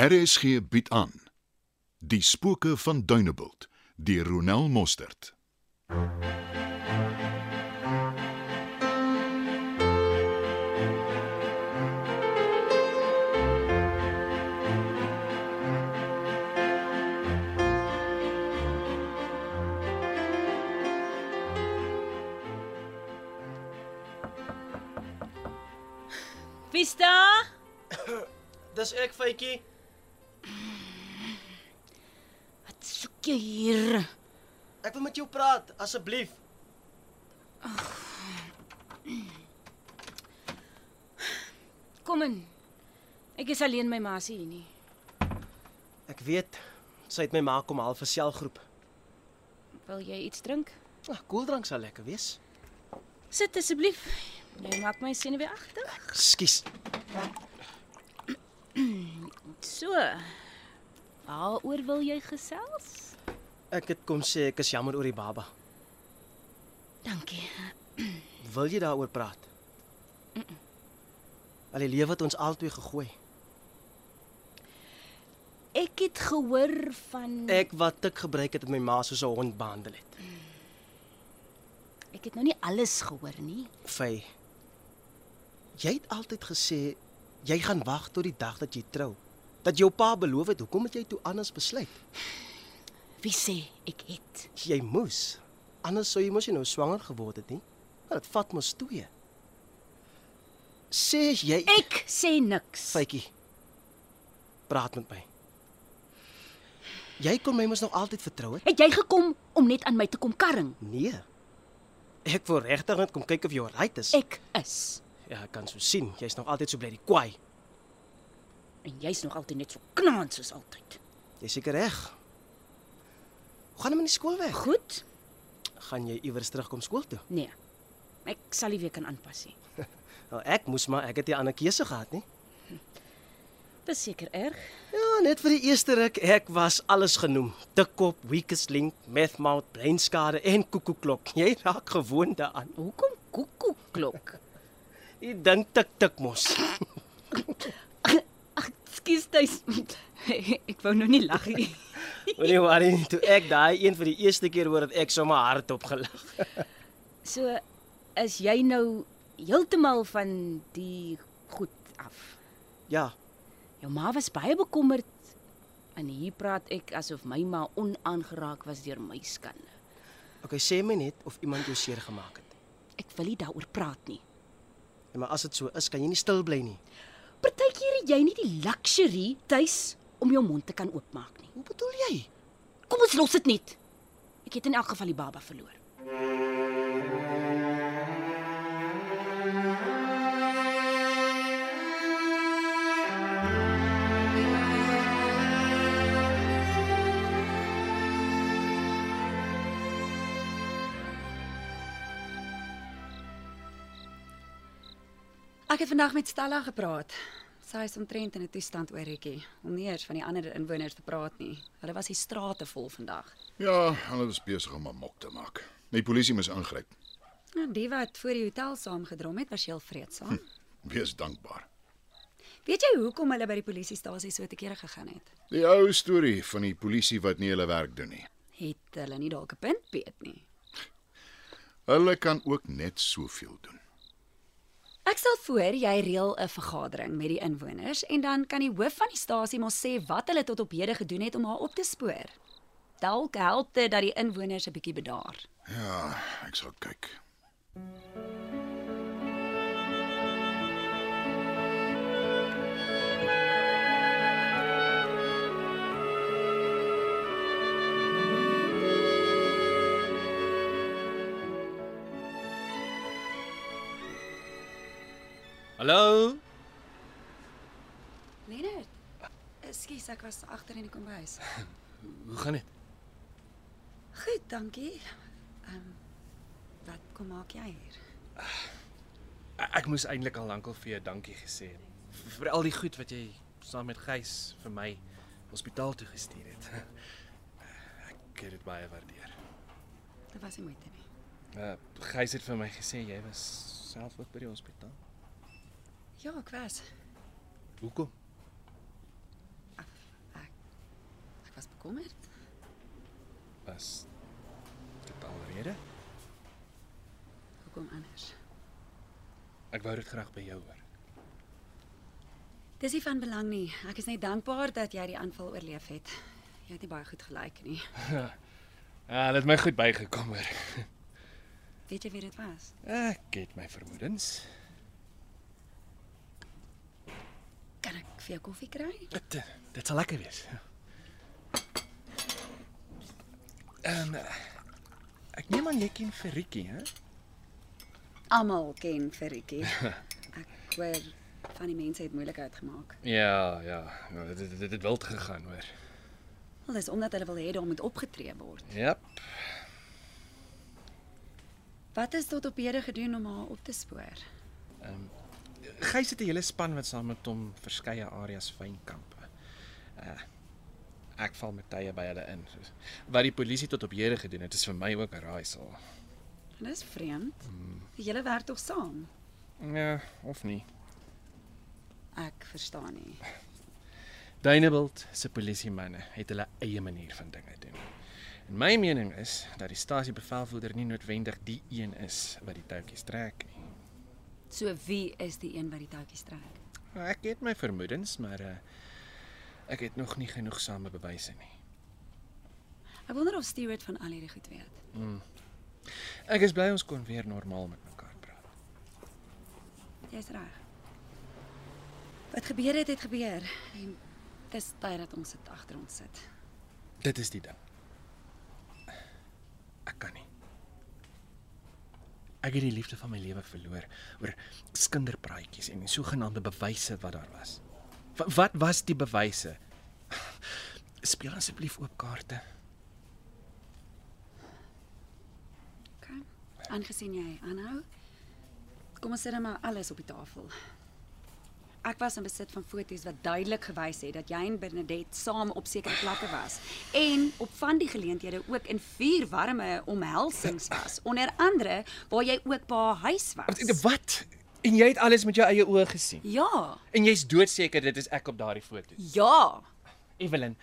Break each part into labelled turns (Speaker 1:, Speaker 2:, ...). Speaker 1: RSG bied aan Die spooke van Duneveld deur Ronel Mostert.
Speaker 2: Wie's daar?
Speaker 3: Dis ek, Faitjie.
Speaker 2: Wat soek jy hier?
Speaker 3: Ek wil met jou praat, asseblief.
Speaker 2: Kom in. Ek is alleen my ma se hier nie.
Speaker 3: Ek weet sy het my ma kom haal vir selgroep.
Speaker 2: Wil jy iets drink?
Speaker 3: Ag, koeldrank sal lekker wees.
Speaker 2: Sit asseblief. Jy maak my senuweeagtig.
Speaker 3: Ekskuus.
Speaker 2: So. Waaroor wil jy gesels?
Speaker 3: Ek het kom sê ek is jammer oor die baba.
Speaker 2: Dankie.
Speaker 3: Wil jy daaroor praat? Al die lewe het ons albei gegooi.
Speaker 2: Ek het gehoor van
Speaker 3: Ek wat tik gebruik het het my ma soos 'n hond behandel het.
Speaker 2: ek het nou nie alles gehoor nie.
Speaker 3: Fay. Jy het altyd gesê jy gaan wag tot die dag dat jy trou. Dat jou pa beloof het, hoekom het jy toe anders besluit?
Speaker 2: Wie sê ek het?
Speaker 3: Jy moes. Anders sou jy mos nie nou swanger geword het nie. Maar dit vat mos 2. Sê jy
Speaker 2: Ek sê niks.
Speaker 3: Faitjie. Praat met my. Jy kon my mos nog altyd vertrou het?
Speaker 2: Het jy gekom om net aan my te kom karring?
Speaker 3: Nee. Ek wou regtig net kom kyk of jy right is.
Speaker 2: Ek is.
Speaker 3: Ja, ek kan so sien. Jy's nog altyd so bly die kwaai.
Speaker 2: En jy's nog altyd net so knaans soos altyd.
Speaker 3: Jy's seker reg. Hoe gaan hom in die skool weg?
Speaker 2: Goed?
Speaker 3: Gaan jy iewers terugkom skool toe?
Speaker 2: Nee. Ek sal nie weer kan aanpas nie.
Speaker 3: Nou ek moes maar ek het nie ander keuse gehad nie.
Speaker 2: Dis seker erg.
Speaker 3: Ja, net vir die eerste ruk, ek was alles genoem. Dikkop, weakest link, meth mouth, breinskade en koekoeklok. Jy raak gewoond daaraan.
Speaker 2: Hoekom koekoeklok?
Speaker 3: Jy dink tik tik mos.
Speaker 2: Ag, skus tuis. Ek wou nou nie lag nie.
Speaker 3: Moenie worry nie, toe ek daai een vir die eerste keer hoor het ek sommer hardop gelag.
Speaker 2: So is jy nou heeltemal van die goed af.
Speaker 3: Ja,
Speaker 2: Jou ma was baie bekommerd en hier praat ek asof my ma onaangeraak was deur my skande.
Speaker 3: okay, sê my net of iemand jou seer gemaak het.
Speaker 2: Ek wil nie daaroor praat nie.
Speaker 3: Ja, maar as dit so is, kan jy nie stil bly nie.
Speaker 2: Partykeer het jy nie die luxury tuis om jou mond te kan oopmaak nie.
Speaker 3: Hoe bedoel jy?
Speaker 2: Kom ons los dit net. Ek het in elk geval die baba verloor.
Speaker 4: Ek het vandag met Stella gepraat. Sy is omtrent in 'n toestand oor Rikkie, om nie eers van die ander inwoners te praat nie. Hulle was die strate vol vandag.
Speaker 1: Ja, hulle is besig om 'n mok te maak. Die polisie moes ingryp.
Speaker 4: Nou die wat voor die hotel saamgedrom het, was heel vreedsaam.
Speaker 1: Wees dankbaar.
Speaker 4: Weet jy hoekom hulle by die polisiestasie so te kere gegaan het?
Speaker 1: Die ou storie van die polisie wat nie hulle werk doen nie.
Speaker 4: Het hulle nie dalk 'n punt weet nie.
Speaker 1: Hulle kan ook net soveel doen.
Speaker 4: Ek stel voor jy reël 'n vergadering met die inwoners en dan kan die hoof van die stasie mos sê wat hulle tot op hede gedoen het om haar op te spoor. Dalk help dit dat die inwoners 'n bietjie bedaar.
Speaker 1: Ja, ek sal kyk.
Speaker 3: Hallo?
Speaker 4: Leonard, ekskuus, ek was agter in die kombuis.
Speaker 3: Hoe gaan dit?
Speaker 4: Goed, dankie. Ehm um, wat kom maak jy hier?
Speaker 5: Ek moes eintlik al lankal vir jou dankie gesê het. V- Vir al die goed wat jy saam met Gys vir my hospitaal toe gestuur het. Ek het dit baie waardeer.
Speaker 4: Dit was nie moeite nie.
Speaker 5: Uh Gys het vir my gesê jy was self ook by die hospitaal.
Speaker 4: Ja, ek was.
Speaker 5: Hoekom?
Speaker 4: Ag, was bekommerd.
Speaker 5: Was dit alrede?
Speaker 4: Hoekom anders?
Speaker 5: Ek wou dit graag by jou hoor.
Speaker 4: Dis nie van belang nie. Ek is net dankbaar dat jy die aanval oorleef het. Jy het nie baie goed gelyk nie.
Speaker 5: Ja, dit het my goed bygekom hoor.
Speaker 4: Weet jy wie dit was?
Speaker 5: Ek het my vermoedens.
Speaker 4: Kan ek vir jou koffie kry?
Speaker 5: Dit dit sal lekker wees. Ehm ek neem aan jy ken Ferriekie, hè?
Speaker 4: Almal ken Ferriekie. Ek hoor van die mense het moeilikheid gemaak.
Speaker 5: Ja, ja. ja, Dit dit- dit het wild gegaan hoor.
Speaker 4: Wel dis omdat hulle wil hê daar moet opgetree word.
Speaker 5: Ja.
Speaker 4: Wat is tot op hede gedoen om haar op te spoor?
Speaker 5: Gys het 'n hele span wat saam met hom verskeie areas fynkamp. Uh, ek val met tye by hulle in. soos- Wat die polisie tot op hede gedoen het, is vir my ook 'n raaisel.
Speaker 4: Dis vreemd. Julle werk tog saam?
Speaker 5: Ja, of nie.
Speaker 4: Ek verstaan nie.
Speaker 5: Dunebuld se polisiemanne het hulle eie manier van dinge doen. En my mening is dat die stasiebevelvoerder nie noodwendig die een is wat die touwtjies trek nie.
Speaker 4: So wie is die een wat die touwtjies trek?
Speaker 5: Nou, Ek het my vermoedens, maar uh, ek het nog nie genoegsame bewyse nie.
Speaker 4: Ek wonder of Stewart van al hierdie goed weet.
Speaker 5: Ek is bly ons kon weer normaal met mekaar praat.
Speaker 4: Jy's reg. Wat gebeur het, het gebeur. En dis tyd dat ons dit agter ons sit.
Speaker 5: Dit is die ding. Ek kan nie. Ek het die liefde van my lewe verloor oor skinderpraatjies en die sogenaamde bewyse wat daar was. Wa- Wat was die bewyse? Speel asseblief oop kaarte.
Speaker 4: OK. Aangesien jy aanhou, kom ons sit dan maar alles op die tafel. Ek was in besit van foto's wat duidelik gewys het dat jy en Bernadette saam op sekere plekke was en op van die geleenthede ook in vier warme omhelsings was, onder andere waar jy ook by haar huis was.
Speaker 5: Wat? En jy het alles met jou eie oë gesien.
Speaker 4: Ja,
Speaker 5: En jy's doodseker dit is ek op daardie foto.
Speaker 4: ja.
Speaker 5: Evelyn,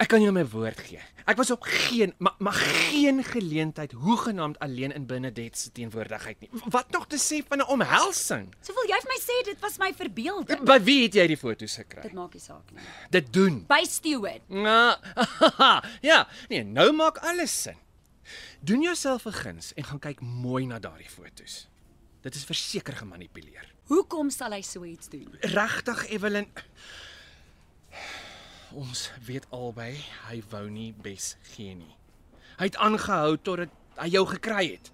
Speaker 5: ek kan jou my woord gee. Ek was op geen maar maar geen geleentheid hoegenaamd alleen in Benedette se teenwoordigheid nie. Wat nog te sê van 'n omhelsing?
Speaker 4: So wil jy vir my sê dit was my verbeelding?
Speaker 5: By wie het jy die foto's gekry?
Speaker 4: Dit maak nie saak nie.
Speaker 5: Dit doen.
Speaker 4: By Stewart.
Speaker 5: Ja, ja, nee, nou maak alles sin. Doen jouself 'n guns en gaan kyk mooi na daardie foto's. Dit is verseker gemanipuleer.
Speaker 4: Hoekom sal hy so iets doen?
Speaker 5: Regtig, Evelyn. Ons weet albei hy wou nie bes gee nie. Hy het aangehou totdat hy jou gekry het.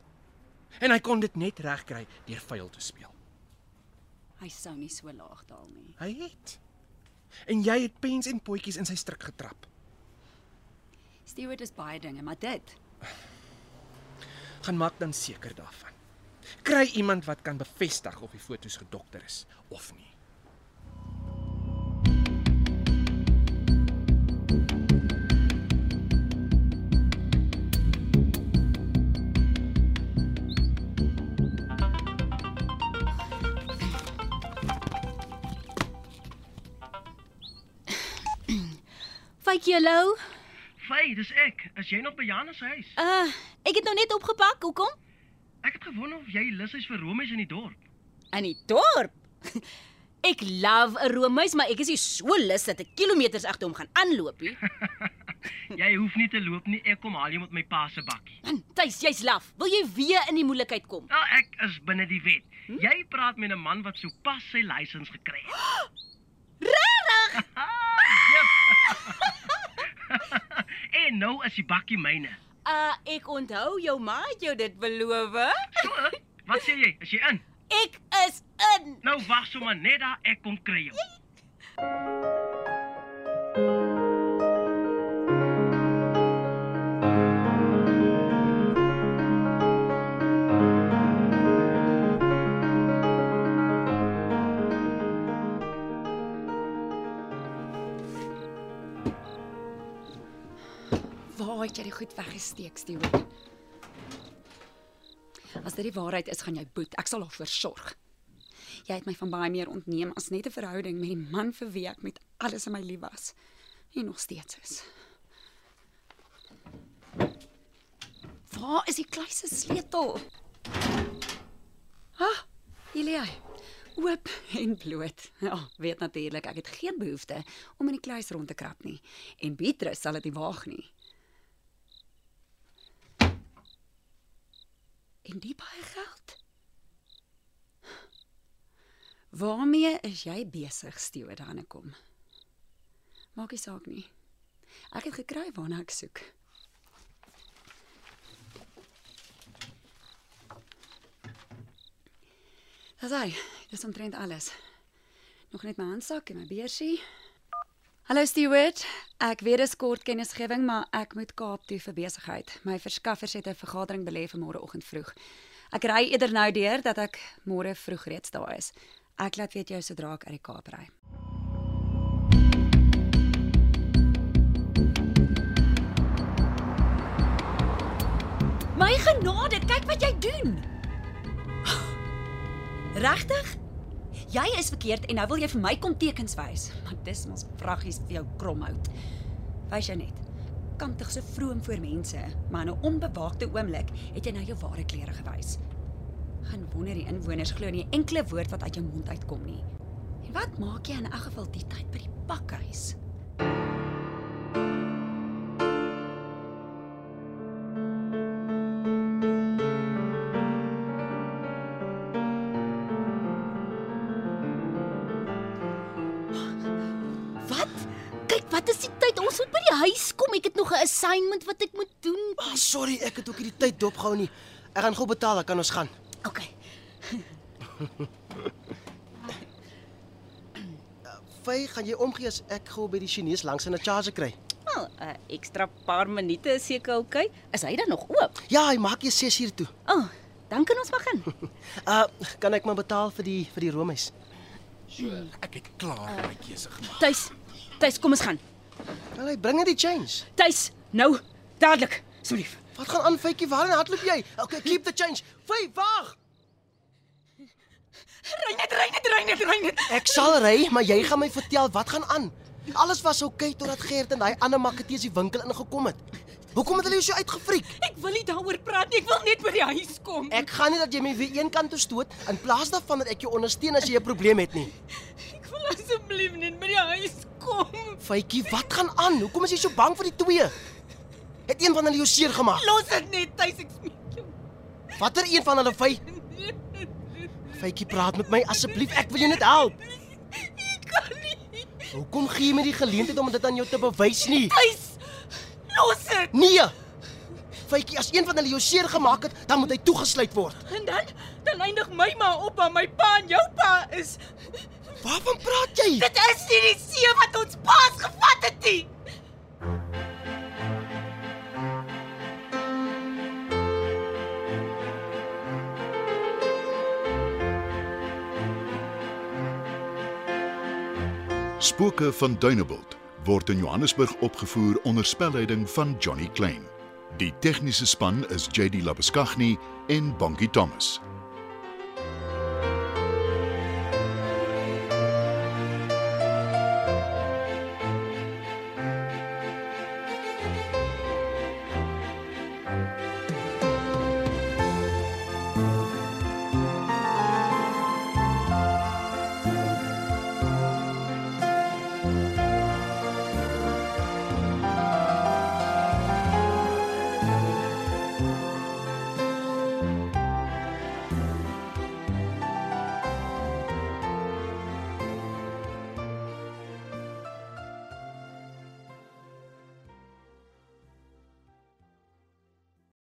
Speaker 5: En hy kon dit net regkry deur vuil te speel.
Speaker 4: Hy sou nie so laag daal nie.
Speaker 5: Hy het. En jy het pens en potjies in sy struik getrap.
Speaker 4: Stewart is baie dinge, maar dit
Speaker 5: Gaan maak dan seker daarvan. Kry iemand wat kan bevestig of die fotos gedokter is of nie.
Speaker 2: Fak julle.
Speaker 6: Vy, dis ek. Is jy nog by Jan se huis?
Speaker 2: Uh, ek het nou net opgepak. Hoekom?
Speaker 6: Ek het gewonder of jy lus is vir roomys in die dorp.
Speaker 2: In die dorp. Ek love 'n roomys, maar ek is nie so lus dat ek kilometers agter hom gaan aanloop nie.
Speaker 6: Jy hoef nie te loop nie. Ek kom haal jou met my pa se bakkie.
Speaker 2: Man, Tuis, jy's laf. Wil jy weer in die moeilikheid kom?
Speaker 6: Nou, ek is binne die wet.
Speaker 5: Hm?
Speaker 6: Jy praat met 'n man wat sopas sy lisens gekry het. Regtig? en nou is die bakkie myne.
Speaker 2: Uh, ek onthou jou ma het jou dit beloof.
Speaker 6: So, wat sê jy? Is jy in?
Speaker 2: Ek is in.
Speaker 6: Nou wag sommer net daar ek kom kry jou.
Speaker 4: Waar het jy die goed weggesteek, Stewart? As dit die waarheid is, gaan jy boet. Ek sal daarvoor sorg. Jy het my van baie meer ontneem as net 'n verhouding met die man vir wie ek met alles in my lief was en nog steeds is. Waar is die kluis se sleutel? Ah, Elia. Oop en bloot. Ja, weet natuurlik, ek het geen behoefte om in die kluis rond te krap nie en Beatrice sal dit nie waag nie. En die baie geld? Waarmee is jy besig, Stewart Hannekom? Maak nie saak nie. Ek het gekry waarna ek soek. Dis hy. Dis omtrent alles. Nog net my handsak en my beursie. Hallo Stewart. Ek weet dis kort kennisgewing, maar ek moet Kaap toe vir besigheid. My verskaffers het 'n vergadering belê vir môreoggend vroeg. Ek ry eerder nou deur dat ek môre vroeg reeds daar is. Ek laat weet jou sodra ek uit die Kaap ry.
Speaker 7: My genade, kyk wat jy doen. Regtig?
Speaker 4: Jy is verkeerd en nou wil jy vir my kom tekens wys. Maar dis mos vraggies vir jou kromhout. Wys jy net. Kantig so vroom voor mense, maar in 'n onbewaakte oomblik het jy nou jou ware klere gewys. Gaan wonder die inwoners glo nie 'n enkele woord wat uit jou mond uitkom nie. En wat maak jy in elk geval die tyd by die pakhuis?
Speaker 7: Wat? Kyk, wat is die tyd? Ons moet by die huis kom. Ek het nog 'n assignment wat ek moet doen.
Speaker 3: Oh, sorry, ek het ook hierdie tyd dopgehou nie. Ek gaan gou betaal, dan kan ons gaan.
Speaker 7: OK.
Speaker 3: Vy, gaan jy omgee as ek gou by die Chinees langs 'n charge kry?
Speaker 2: Wel, 'n ekstra Nou, eh, paar minute is seker oukei. Okay. Is hy dan nog oop?
Speaker 3: Ja, hy maak jy 6 uur toe.
Speaker 2: O, oh, dan kan ons begin.
Speaker 3: Uh, kan ek maar betaal vir die vir die roomys?
Speaker 5: Ek het klaar met my keuse gemaak.
Speaker 2: Tuis. Tuis, kom ons gaan.
Speaker 3: Wel, hy bring net die change.
Speaker 2: Tuis, nou, dadelik. Asseblief.
Speaker 3: Wat gaan aan, Faitjie? Waarheen hardloop jy? Okay, keep the change. Vy, wag.
Speaker 7: Reinet, Reinet, Reinet, Reinet.
Speaker 3: Ek sal ry, maar jy gaan my vertel wat gaan aan. Alles was oukei okay, totdat Gert en daai ander makketeers die winkel ingekom het. Hoekom het hulle jou so uitgefriek?
Speaker 7: Ek wil nie daaroor praat nie. Ek wil net by die huis kom.
Speaker 3: Ek gaan nie dat jy my weer een kant toe stoot in plaas daarvan dat ek jou ondersteun as jy 'n probleem het nie.
Speaker 7: Ek wil asseblief net by die huis kom.
Speaker 3: Faitjie, wat gaan aan? Hoekom is jy so bang vir die twee? Het een van hulle jou seer gemaak?
Speaker 7: Los dit net, Tuis, ek smeek jou.
Speaker 3: Watter een van hulle, Fay? Faitjie, praat met my asseblief. Ek wil jou net help.
Speaker 7: Ek kan nie.
Speaker 3: Hoekom gee jy my die geleentheid om dit aan jou te bewys nie?
Speaker 7: Tuis. Los dit.
Speaker 3: Nee. Faitjie, as een van hulle jou seer gemaak het, dan moet hy toegesluit word.
Speaker 7: En dan dan eindig my ma op aan my pa en jou pa is
Speaker 3: Waarvan praat jy?
Speaker 7: Dit is nie die see wat ons paas gevat het nie.
Speaker 1: Spooke van Dunebuld word in Johannesburg opgevoer onder spelleiding van Johnny Klein. Die tegniese span is JD Labuskaghni en Bongie Thomas.